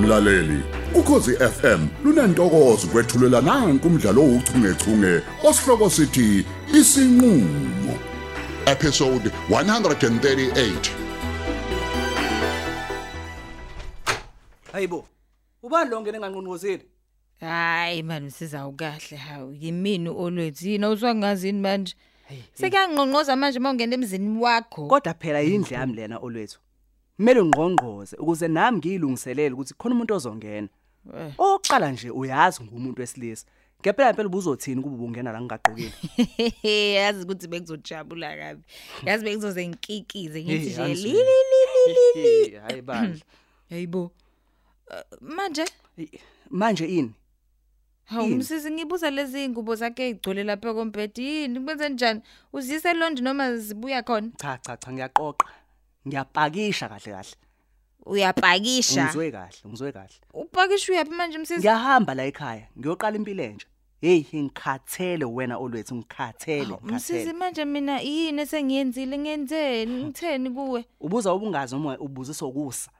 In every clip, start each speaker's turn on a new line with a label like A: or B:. A: mlaleli ukhosi FM lunantokozo kwethulela nange kumdlalo ouchungechunge osihloko sithi isinqulo episode 138
B: Hayibo. Ubani lo ngene nganqonqozeli?
C: Hayi man usiza ukahle hawu yimini olwethina uswangazini manje Sekuyangqonqoza manje mawungena emzini wakho
B: Kodwa phela yindle yami lena olwethu. Kumele ungqongqoze ukuze nami ngilungiselele ukuthi khona umuntu ozongena.
C: Eh.
B: Oqala nje uyazi ngumuntu wesilisa. Ngempela impela ubuzothini kuba ubungena la ngigaqokile.
C: yazi ukuthi bekuzojabula kabi yazi bekuzoze ngikikize
B: Hey,
C: ngithi nje
B: yazi
C: li
B: mina.
C: li li li li
B: Hayi bandla.
C: hayibo Uh, manje
B: Eh, Manje ini?
C: hawu
B: Yini?
C: umsisi ngibuza lezi ngubo zakhe igcwele lapha kombhedi yini kwenze njani uzise eLondon noma zibuya khona
B: Cha cha cha ngiyaqoqa. Ngiyapakisha kahle kahle.
C: uyapakisha
B: Ngizwe kahle, ngizwe kahle.
C: upakisha uyapi manje umsisi
B: Ngiyahamba la ekhaya. Ngiyoqala impilo entsha. Hey, ngikhathele wena olwethu ngikhathele.
C: Hawu, umsisi
B: ngikhathele.
C: manje mina yini esengiyenzile ngiyenzeni ngitheni kuwe
B: Ubuza ubungazi uma ubuziswa ukusa.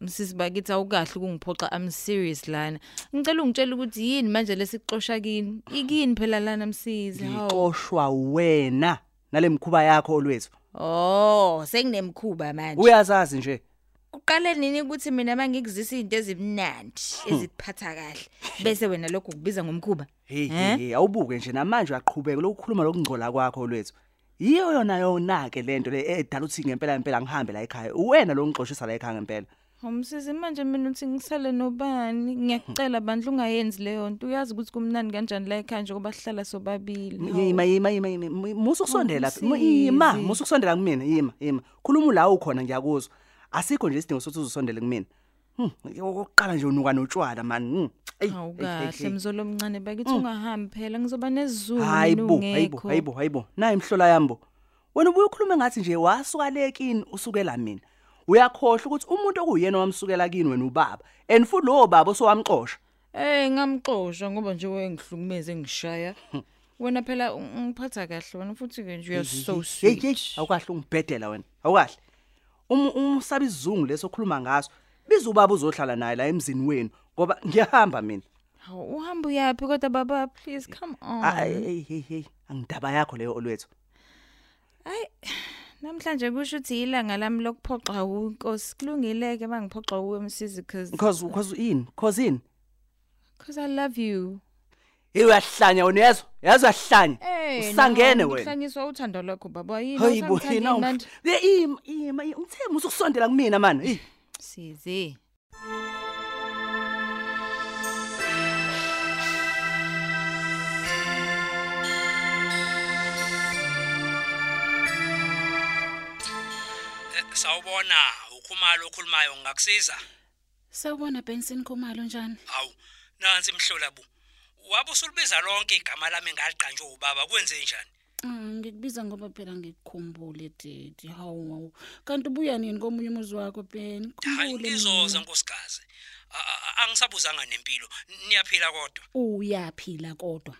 C: msisi bakithi awukahle ukungiphoxa i'm serious lana ngicela ungitshela ukuthi yini manje lesixosha kini ikini phela lana msisi hawu
B: ngixoshwa wena nalemkhuba yakho olwethu
C: oh senginemkhuba manje
B: uyazazi nje
C: uqale nini ukuthi mina mangikuzisa izinto ezimnandi eziphatha kahle bese wena lokho kubiza ngomkhuba
B: hey
C: Eh?
B: hey awubuke nje namanje uyaqhubeka lokukhuluma lokungcola kwakho olwethu yiyo yona yona ke lento le edala uthi ngempela ngempela ngihambe la ekhaya wena lo ngixoshisa la ekhaya ngempela
C: umsisi manje mina uthi ngisale nobani ngiyakucela bandla ungayenzi leyo nto uyazi ukuthi kumnandi kanjani la ekhaya nje kuba sihlala sobabili hawu.
B: yima yima yima yima musu kusondela phi? Mu- yima
C: Msisi.
B: musu kusondela kumina yima yima khuluma la ukhona ngiyakuzwa asikho nje isidingo sokuthi uzusondele kumina hm okokuqala nje unuka notshwala man Hmm, Eh,
C: awukahle mzolo omncane bakithi ungahambi phela ngizoba nesizungu
B: hayibo hayibo hayibo hayibo nayi imhlola yambo wena ubuye ukhulume ngathi nje wasukalekini usukela mina uyakhohlwa ukuthi umuntu okuyena wamsukela kini wena ubaba and futhi lo baba osowamxosha
C: Eh ngamxoshwa ngoba nje wengihlukumeze ngishaya.
B: Hmm.
C: Wena phela u- ungiphatha kahle wena futhi ke nje uyaso
B: hey
C: sweet.
B: awukahle ungibhedela wena awukahle Um- umsaba izungu leso okhuluma ngaso biza ubaba uzohlala naye la emzini wenu ngoba ngiyahamba mina
C: Hawu uhamba uyapi kodwa baba please come
B: Ay,
C: on.
B: hey hey hey angidaba yakho leyo olwethu
C: Namhlanje kusho ukuthi ilanga lami lokuphoxa uNkosi kulungileke bangiphoxa uwe msisi cause
B: because because in because in
C: cause I love you.
B: hey uyahlanya wena uyezwa yazi uyahlanya
C: Eh
B: usangene wena
C: Uhlanyiswa uthando lwakho baba yini
B: hayi bo
C: usangithanda
B: yena
C: manje.
B: ima ngithemba usukusondela kumina mani hey
C: Size.
D: sawubona ukhumalo okhulumayo ngakusiza
E: Sawubona Benson Khumalo njani?
D: hawu nansi mhlola bu wabe usulibiza lonke igama lami ngaliqanjwe ubaba kwenze njani
E: Mm, Ngikubiza ngoba phela ngikukhumbule didi. Hawu. hawu. Kanti ubuya nini komunye umuzi wakho Ben?
D: hayi
E: Ngikukhumbule
D: ngizoza
E: mina.
D: nkosikazi A- a- a- angisabuzanga nempilo N- niyaphila kodwa
E: Uyaphila kodwa.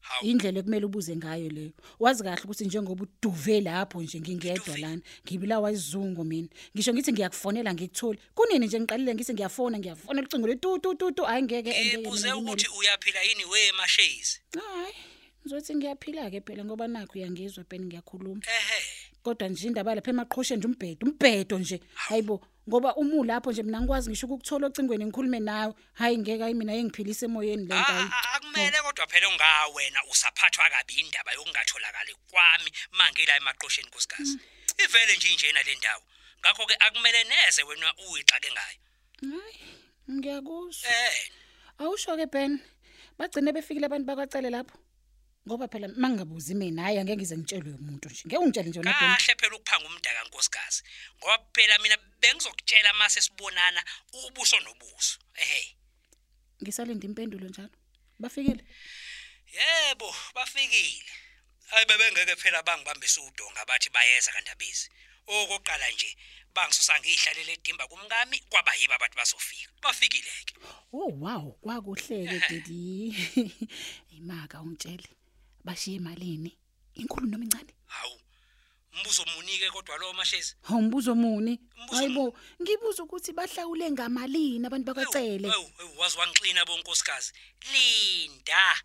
D: hawu
E: Indlela ekumele ubuze ngayo leyo. Wazi kahle ukuthi njengoba uduve lapho nje ngingedwa lana, ngibila wayizungu mina. Ngisho ngithi ngiyakufonela ngikuthole. Kunini nje ngiqalile ngithi ngiyafona, ngiyafona ucingo lwetu tu tu tu hayi ngeke ngeke,
D: ebuze
E: mina ngimele.
D: Eh, ukuthi uyaphila yini wemashezi
E: Hayi. Ngizothi ngiyaphila ke phela ngoba nakho uyangizwa Ben ngiyakhuluma.
D: ehe
E: kodwa nje indaba lapha emaqhosheni nje umbhedo umbhedo nje hayibo ngoba uma ulapho nje mina ngikwazi ngisho ukukuthola ocingweni ngikhulume nawe hayi ngeke hayi mina yengiphilise emoyeni
D: A-
E: le nto
D: a-
E: hayi
D: a- akumele kodwa phela ungawena usaphathwa kabi indaba yokungatholakali kwami mangila emaqosheni nkosikazi ivele nje injena le ndawo ngakho ke akumele neze wena uyixake ngayo
E: hayi ngiyakuzwa
D: eh
E: awusho ke Ben bagcine befikile abantu bakwacele lapho ngoba phela mangingabuzi mina hayi angeke ngize ngitshelwe umuntu nje ngeke ungitshele nje wena Ben
D: kahle phela ukuphanga umdaka nkosikazi ngoba phela mina bengizokutshela mase sibonana ubuso nobuso ehe
E: ngisalinda impendulo njalo bafikile
D: yebo bafikile hayi bebengeke phela bangibambe sudonga bathi bayeza kandabizi okoqala nje bangisusa ngihlalele edimba kumkami kwaba yibo abantu bazofika bafikile ke
E: oh wow kwakuhleke didi imaka ungitshele bashiye imali ni inkulu noma incane
D: hawu umbuzo munike kodwa lo mashezi
E: Awumbuzo muni?
D: Umbuzo
E: Hayibo, ngibuza ukuthi bahlawule ngamalini abantu bakwacele.
D: Ewu, ewu, wazi wangixina bonkosikazi linda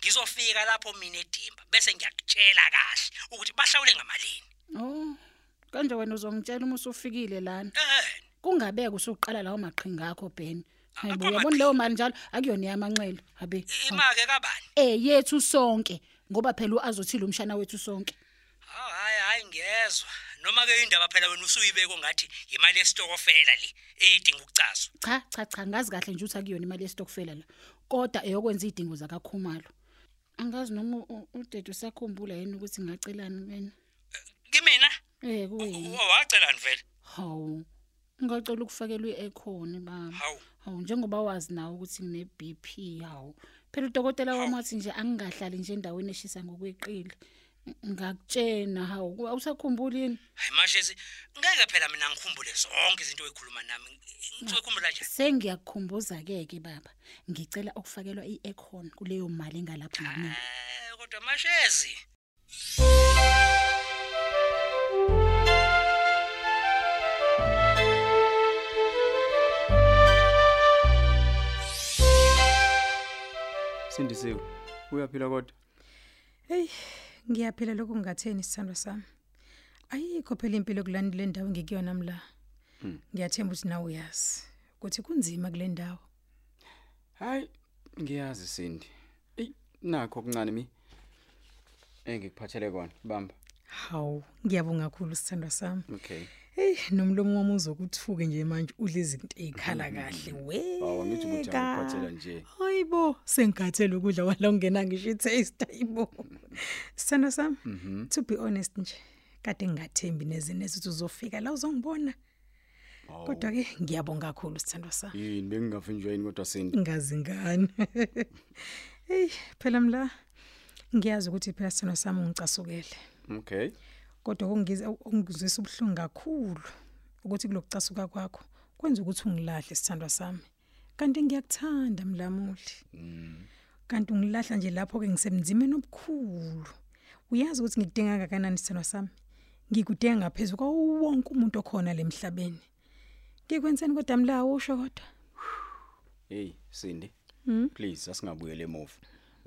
D: ngizofika lapho mina edimba bese ngiyakutshela kahle ukuthi bahlawule ngamalini
E: Oh. Kanje wena uzongitshela uma usufikile lana.
D: eh
E: Kungabeka usuqala lawo maqhinga akho Ben. Hayibo,
D: Akho
E: uyabona leyo mali njalo akuyona yamanxele. Habe.
D: imake kabani
E: Eh yethu sonke ngoba phela uazothila umshana wethu sonke.
D: Ah, hayi hayi ngiyezwa noma ke indaba phela wena usuyibeka ngathi imali yesitokofela le edinga ukucazwa
E: Cha cha cha ngazi kahle nje ukuthi akuyona imali yesitokfela la. Kodwa eyokwenza idingo zakakhumalo. Angazi noma u- u- udade usakhumbula yini ukuthi ngacelani wena.
D: kimina
E: Eh kuwe.
D: Wa- wacelani vele
E: Hawu. Ngicela ukufakela i-aircon baba.
D: Hawu.
E: Hawu njengoba wazi nawe ukuthi ngine BP hawu. Phela udokotela wami wathi nje angingahlali nje endaweni eshisa ngokweqile. Ng- Ngakutshena hawu awusakhumbuli yini?
D: hayi mashezi ngeke phela mina ngikhumbule zonke izinto oyikhuluma nami ngizoyikhumula nje
E: Sengiyakukhumbuza ke ke baba. Ngicela ukufakelwa i-aircon kuleyo mali engalapha nginika.
D: Eh, kodwa mashezi
F: sindisiwe uyaphila kodwa
G: Hey, ngiyaphila lokhu ngatheni sithandwa sami. Ayikho phela impilo kulandile indawo ngikuyona nami la. Ngiyathemba ukuthi nawe uyazi ukuthi kunzima kule ndawo.
F: hayi ngiyazi sindi eyi nakho okuncane mi engikuphathele kona bamba
G: Hawu, ngiyabonga kakhulu sithandwa sami.
F: okay
G: Hey, nomlomo wami uzokuthuke nje manje udle izinto ezikhala kahle we.
F: Mhm. Hawu, angithi ukuthi angikuphathela nje.
G: Hayibo, sengathela ukudla wala ungena ngisho i-taste ayibo. Sithandwa sami,
F: Mhm.
G: to be honest nje, kade ngingathembi nezinezo ukuthi uzofika la uzongibona. Kodwa ke ngiyabonga kakhulu sithandwa sami.
F: yini bengingafinjwa yini kodwa sindi
G: ngazi ngani hey phela mla ngiyazi ukuthi phela sino sami ngicasukele
F: okay
G: kodwa okungiza ongizwisa ubuhlungu kakhulu ukuthi kulokucasuka kwakho kwenza ukuthi ungilahle sithandwa sami kanti ngiyakuthanda mlamuli kanti ungilahla nje lapho ke ngisemdzimeni obukhulu uyazi ukuthi ngikudinga kangakanani sithandwa sami ngikudinga ngaphezulu kwawo wonke umuntu okhona lemhlabeni ngikwenzeni kodwa mla usho kodwa
F: hey sindi please asingabuyele emuva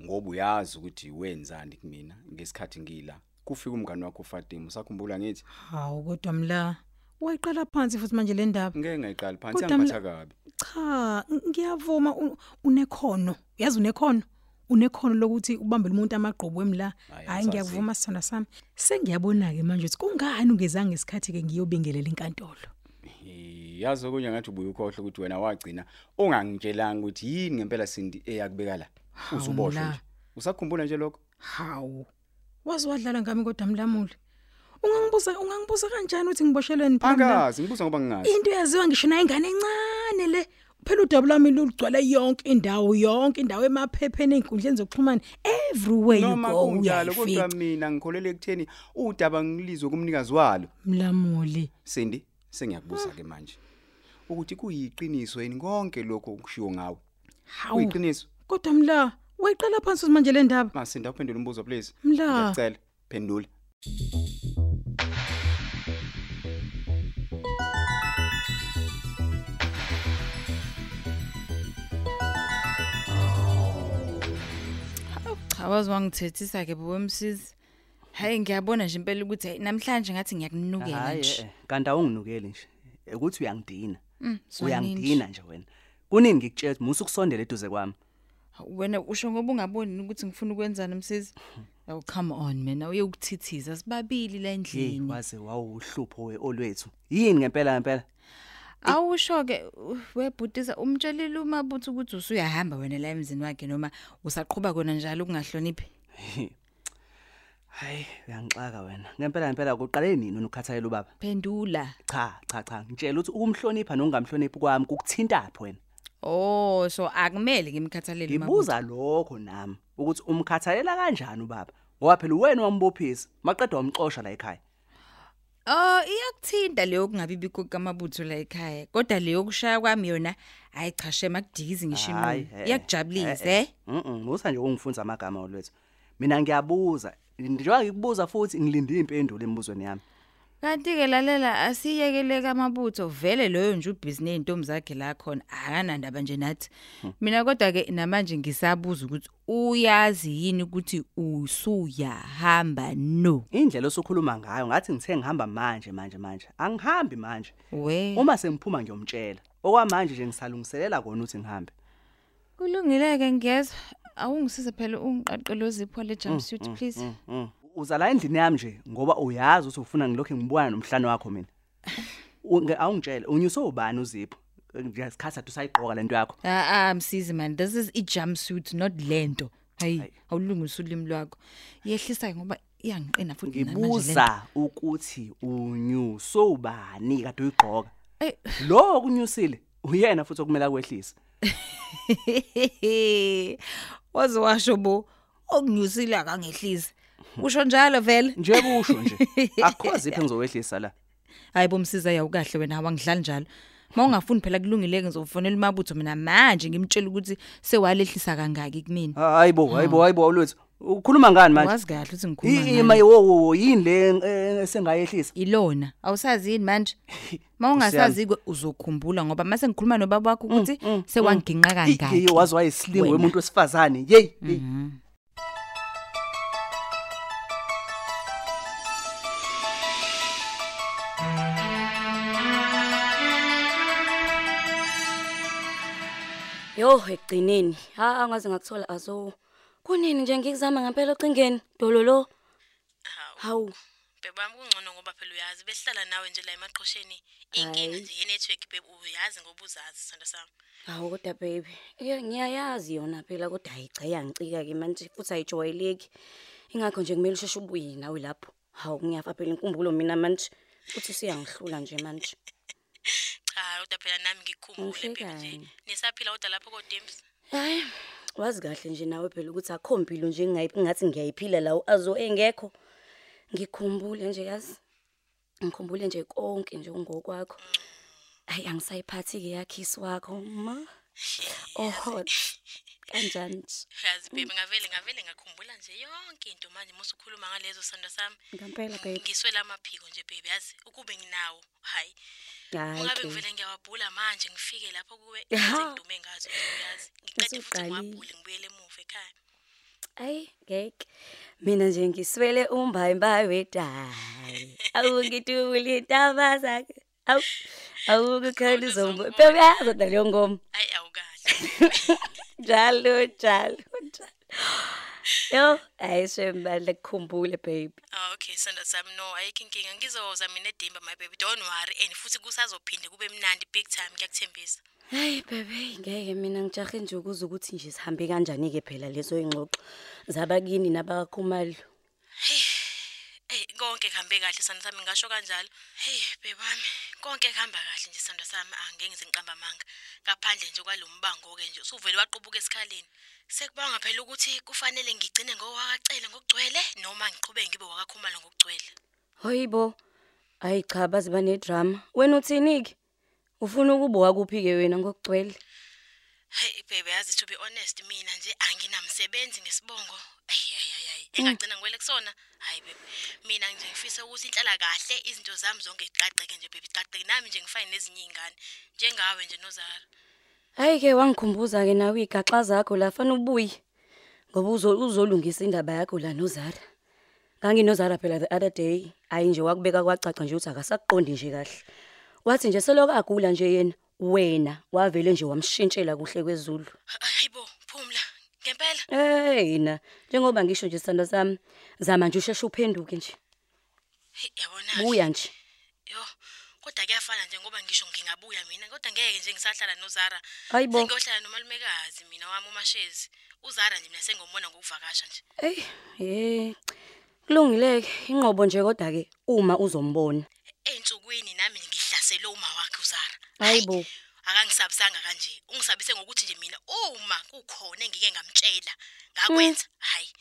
F: ngoba uyazi ukuthi wenzani kumina ngesikhathi ngila kufika umngane wakho uFatima usakhumbula ngithi
G: Hawu kodwa mla wayiqala phansi futhi manje le ndaba.
F: ngeke ngayiqali phansi
G: Kodwa mla-
F: yangiphatha kabi
G: Cha, ng- ngiyavuma u- unekhono. Uyazi unekhono. Unekhono lokuthi ubambe umuntu amagqobo emla.
F: Hhayi,
G: Hayi
F: angisazi.
G: ngiyavuma sithanda sami. Sengiyabona ke manje ukuthi kungani ungezange isikhathi ke ngiyobingelela inkantolo.
F: Eh, yazi okunye ngathi ubuye ukhohle ukuthi wena wagcina ongangitshelanga ukuthi yini ngempela sindi eyakubeka la
G: Hawu,
F: uzuboshwe
G: mla.
F: nje usakhumbula nje lokho
G: Hawu. Wazi wadlala ngami kodwa mlamuli. Ungangibuza ungangibuza kanjani ukuthi ngiboshelweni phambi la?
F: angazi ngibuza ngoba ngingazi
G: into eyaziwa ngisho nayo ingane encane le phela udaba lami lugcwele yonke indawo yonke indawo emaphepheni ey'nkundleni zokuxhumana everywhere you
F: noma
G: go
F: kunjalo kodwa
G: uyayifica
F: mina ngikholele ekutheni udaba ngilizwe kumnikazi walo
G: mlamuli
F: Sindi sengiyakubuza ke manje ukuthi kuyiqiniso yini konke lokho kushiwo ngawe
G: hawu
F: kuyiqiniso
G: kodwa mla wayiqala phansi ukuthi manje le ndaba
F: masinda uphendule umbuzo please
G: Mla.
F: ngiyacela phendula
C: cha wazi wangithethisa ke bobemsizi hayi ngiyabona nje impela ukuthi hayi namhlanje ngathi ngiyakunukela
B: hayi
C: nje
B: eh, eh, kanti awunginukeli nje ukuthi uyangidina
C: zwanini nje.
B: uyangidina nje wena kunini ngikutshela ukuthi musu kusondela eduze kwami
C: wena usho ngoba ungaboni ukuthi ngifuna ukwenzani msizi oh come on mina uye ukuthithiza sibabili la
B: hey
C: endlini
B: waze wawuhlupho weolwethu yini ngempela ngempela
C: awusho ke uh, webhutisa umtshelile umabutho ukuthi usuyahamba wena la emzini wakhe noma usaqhubha kona njalo ukungahloniphi
B: hayi uyangixaka wena ngempela ngempela kuqale nini wena ukukhathalela ubaba
C: phendula
B: cha cha cha ngitshela ukuthi ukumhlonipha nokungamhloniphi kwami kukuthintaphi wena
C: oh so akumele ngimkhathalele umabutho
B: ngibuza lokho nami ukuthi umkhathalela kanjani ubaba ngoba phela wena wambophisa maqedwa wamxosha la ekhaya
C: oh iyakuthinta leyo kungabibi kukamabutho la ekhaya kodwa leyo kushaya kwami yona hayi cha shema kudikizi ngisho
B: Hhayi,
C: iminwe
B: eh, eh.
C: iyakujabulisa
B: Eh,
C: eh
B: eh. Mhm, musa nje ungifunza amagama olwethu. Mina ngiyabuza, njengoba ngikubuza futhi ngilinde impendulo embuzweni yami.
C: Kanti ke lalela asiyekeleka amabutho vele loyo nje ubusiness intombi zakhe la khona akanandaba nje nathi. Mina kodwa ke namanje ngisabuza ukuthi uyazi yini ukuthi usuyahamba no.
B: indlela osukhuluma ngayo ngathi ngithe ngihamba manje manje manje angihambi manje
C: We.
B: uma sengiphuma ngiyomtshela okwamanje nje ngisalungiselela kona ukuthi ngihambe
C: Kulungile ke ngiyezwa. Awungisize phela ungiqaqelo zipho le jumpsuit please.
B: Mm. uza la endlini yami nje ngoba uyazi ukuthi ufuna ngilokhu ngibukana nomhlane wakho mina U- nge- awungitshele unyuse ubani uzipho ngiyasikhatha ukuthi usayiqoka lento yakho
C: Ah ah msizi man this is i jumpsuit not lento. Hayi awulungisa ulimi lwakho. Yehlisa ngoba iyangiqina futhi mina manje lento.
B: ngibuza ukuthi unyuse ubani kade uyigqoka
C: Eh.
B: lo okunyusile uyena futhi okumele akwehlise
C: Waze washo bo okunyusile akangehlisi. Usho njalo vele.
B: nje kusho nje akukho zipho engizowehlisa la
C: Hayi bomsiza yawukahle wena awangidlali njalo. Mawungafuni phela kulungileke ngizofonela umabutho mina manje ngimtshela ukuthi sewalehlisa kangaki kumina.
B: hayi bo hayi bo hayi bo lutho ukhuluma ngani Ah, manje
C: Wazi kahle ukuthi
B: I-
C: ngikhuluma
B: ima
C: ngani.
B: wo wo wo, yini le eh, esengayehlisa
C: Ilona awusazi yini manje. Mawungasazi ke uzokhumbula ngoba mase ngikhuluma nobaba
B: Mm,
C: wakho ukuthi sewanginqa
B: Ike,
C: kangaki.
B: waze wayisilingo
C: Wena.
B: wemuntu wesifazane yeyi yeyi.
H: Yo ekugcineni, ha angaze ngakuthola aso. Kunini nje ngikuzama ngempela ocingeni, dololo. Hawu,
I: bebami kungcono ngoba phela uyazi besihlala nawe nje la emaqhosheni inkinga
H: Hhayi.
I: nje yenetwork bebe uyazi ngoba uzazi sithando sami
H: hawu kodwa baby. Iya ngiyayazi yona phela kodwa ayicha yangicika ke manje futhi ayijwayeleki. Ingakho nje kumele usheshe ubuye nawe lapho. Hawu ngiyafa phela inkumbulo mina manje. Futhi siyangihlula nje manje.
I: cha kodwa phela nami ngikukhumbule bebe nje
H: Ngihlekani.
I: nisaphila kodwa lapho kodemps
H: Hayi. Wazi kahle nje nawe phela ukuthi akho mpilo nje engayi- ngathi ngiyayiphila lawo azo engekho. Ngikhumbule nje yazi. Ngikhumbule nje konke nje ngokwakho. Hayi angisayiphathi ke yakhisi wakho ma. Oh hot. Kanjani? nje?
I: uyazi bebe ngavele ngavele ngakhumbula nje yonke into manje musu ukhuluma ngalezo sithando sami
H: Ngempela baby.
I: ngiswela amaphiko nje bebe yazi ukube nginawo hayi ungabe
H: Hayi.
I: ngivele ngiyawabhula manje ngifike lapho kuwe
H: Ya.
I: ngidume ngazo nje, uyazi ngiqede futhi
H: Usuqalile.
I: ngiwabhule ngibuyele emuva ekhaya
H: Ay ngeke. Mina nje ngiswele umbayi mbayi wedayi. Awungidubuli indaba zakhe. Awu awukukhala izombo. Baby yazi naleyo ngoma.
I: hayi awukahle
H: njalo njalo njalo yo ayishembale kukhumbule baby
I: Ah, okay sanda sami no ayikho inkinga ngizoza mina edimba my baby don't worry and futhi kusazophinde kube mnandi big time ngiyakuthembisa
H: hayi baby ngeke mina ngijahe nje ukuze ukuthi nje sihambe kanjani-ke phela lezo yingxoxo zabakini nabakhumalo
I: hey konke kuhambe kahle sanda sami ngasho kanjalo hey bebami konke kuhamba kahle nje sanda sami angeke ngizinqamba manga ngaphandle nje kwalombango ke nje usuvele waqubuka esikhaleni sekubanga phela ukuthi kufanele ngigcine ngowakacela ngokugcwele noma ngiqhubeke ngibe wakakhumalo ngokugcwele
H: hoyibo hayi cha baze banedrama wena uthini-ke ufuna ukubowa kuphi-ke wena ngokugcwele
I: Hey baby yazi to be honest mina nje anginamsebenzi ngesibongo. Ayiyayayayi engagcina ngiwele kusona. Hayi baby. Mina nje ngifisa ukuthi inhlala kahle izinto zami zonke ziqaqeke nje baby ziqaqeke nami nje ngifane nezinye izingane njengawe nje nozara.
H: hhayi-ke wangikhumbuza-ke nawe iy'gaxa zakho la fana ubuye ngoba uzo- uzolungisa indaba yakho la nozara nganginozara phela the other day hhayi nje wakubeka kwacaca nje ukuthi akasakuqondi nje kahle wathi nje seloko agula nje yena wena wavele nje wamshintshela kuhle kwezulu
I: Hayibo phumla. Ngempela
H: eyi na njengoba ngisho nje sithando sami zama nje usheshe uphenduke nje
I: Hey, yabona.
H: buya nje
I: Yo. Kodwa kuyafana nje ngoba ngisho ngingabuya mina kodwa ngeke nje ngisahlala noZara.
H: Hayibo.
I: Sengiyohlala nomalumekazi mina wami umashezi. UZara nje mina sengomona ngokuvakasha nje.
H: eyi ye kulungileke inqobo nje kodwa-ke uma uzombona
I: Einsukwini nami ngihlasele uma wakhe uZara.
H: hayibo
I: akangisabisanga kanje ungisabise ngokuthi nje mina uma kukhona engike ngamtshela ngakwenza hayi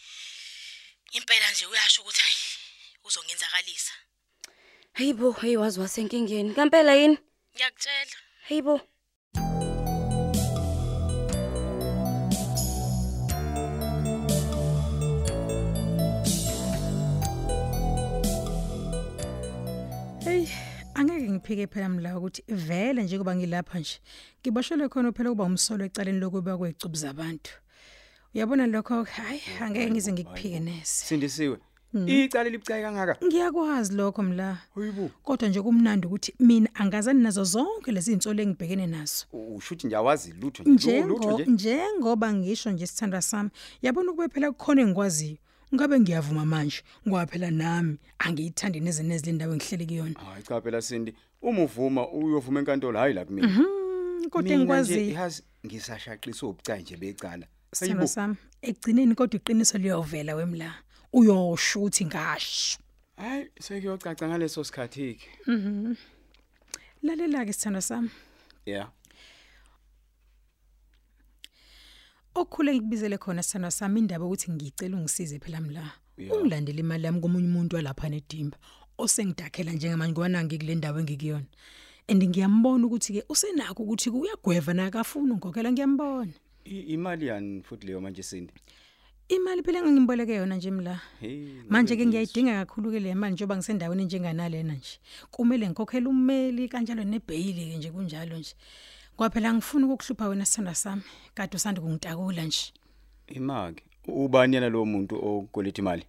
I: impela nje uyasho ukuthi hayi uzongenzakalisa
H: hayibo heyi wazi wasenkingeni kampela yini
I: ngiyakutshela
H: hayibo
G: Hey, angeke ngiphike phela mla ukuthi vele njengoba ngilapha nje. Ngiboshelwe khona phela kuba umsolo eceleni lokuba kwecubu zabantu. Uyabona lokho hayi angeke ngize ngikuphike nese.
F: Sindisiwe.
G: Mm.
F: Icala libucayi kangaka.
G: Ngiyakwazi lokho mla.
F: Hoyibo.
G: Kodwa nje kumnandi ukuthi mina angazani nazo zonke lezi zintsolo engibhekene nazo.
F: Ushuthi nje awazi lutho nje lutho
G: Njengo
F: nje.
G: njengoba ngisho nje sithanda sami, yabona ukube phela kukhona engikwaziyo. Ngabe ngiyavuma manje, ngoba phela nami angiyithandi nezine zilendawo engihleli kuyona.
F: Hayi cha phela Sindi, uma uvuma uyovuma enkantolo hayi la kimi.
G: Mhm, Kodwa engikwaziyo
F: Yazi ngisashaqisa ubucayi nje becala.
G: Sithando sami, egcineni kodwa iqiniso liyovela wemla. Uyoshuthi ngasho.
F: Hayi sekuyocaca ngaleso sikhathi ke.
G: Lalela ke sithando sami.
F: Yeah.
G: Okhule ngikubizele khona sithando sami indaba ukuthi ngicela ungisize phela mla.
F: Yeah.
G: Ungilandele imali yami komunye umuntu walapha nedimba osengidakhela njengamanje kwanangi kule ndawo engikuyona. And ngiyambona ukuthi ke usenakho ukuthi uyagweva nakafuna ngokhela ngiyambona.
F: I- Imali yani futhi leyo manje Sindi.
G: Imali phela engingimboleke yona nje mla.
F: Hey.
G: manje
F: ngeke
G: ke ngiyayidinga kakhulu ke le mali njengoba ngisendaweni njenganalena nje kumele ngikhokhele ummeli kanjalo nebhayili ke nje kunjalo nje kwaphela ngifuna ukukuhlupha wena sithanda sami kade usanda kungitakula nje
F: Imake. Ubani yena lo muntu okoleta imali?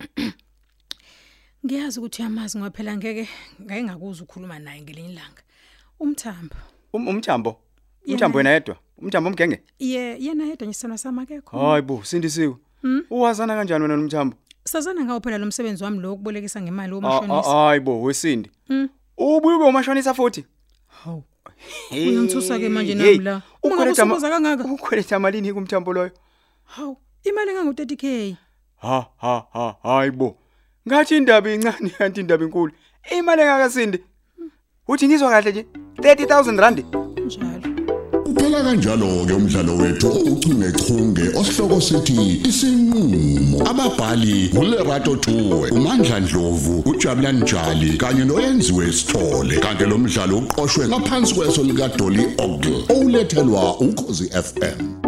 G: ngiyazi ukuthi uyamazi ngaphela ngeke ngeke ngakuza ukukhuluma naye ngelinye ilanga umthambo
F: Um- Umthambo.
G: Yena. Mm.
F: Umthambo wena yedwa. Umthambo umgenge.
G: ye yena yedwa nje sithanda sami akekho
F: Hayi bo, Sindisiwe.
G: Mm.
F: Uwazana kanjani wena nomthambo?
G: sazana ngawo phela lo msebenzi wami lo wokubolekisa ngemali
F: Ah, ah,
G: womashonisa
F: Hayi bo, wesindi.
G: Mm.
F: Ubuye ube umashonisa futhi.
G: hawu
F: Hey.
G: Uyangithusa ke manje
F: Hey,
G: nami la. Uma ngabe
F: ukweleta ma-
G: usubuza kangaka.
F: Ukweleta malini kumthambo loyo?
G: hawu imali engango 30k
F: Ha ha ha hayi bo. Ngathi indaba incane kanti indaba inkulu. Imali engakasindi. Uthi ngizwa kahle nje 30000 rand.
G: kunjalo
A: Kuphela kanjalo ke umdlalo wethu ouchungechunge osihloko sithi isinqulo. Ababhali uLerato Tuwe, uMandla Dlovu, uJabulani Njali kanye noyenziwe Sithole. Kanti lo mdlalo uqoqwwe ngaphansi kweso lika Dolly Ogle. Olethelwa ukhozi FM.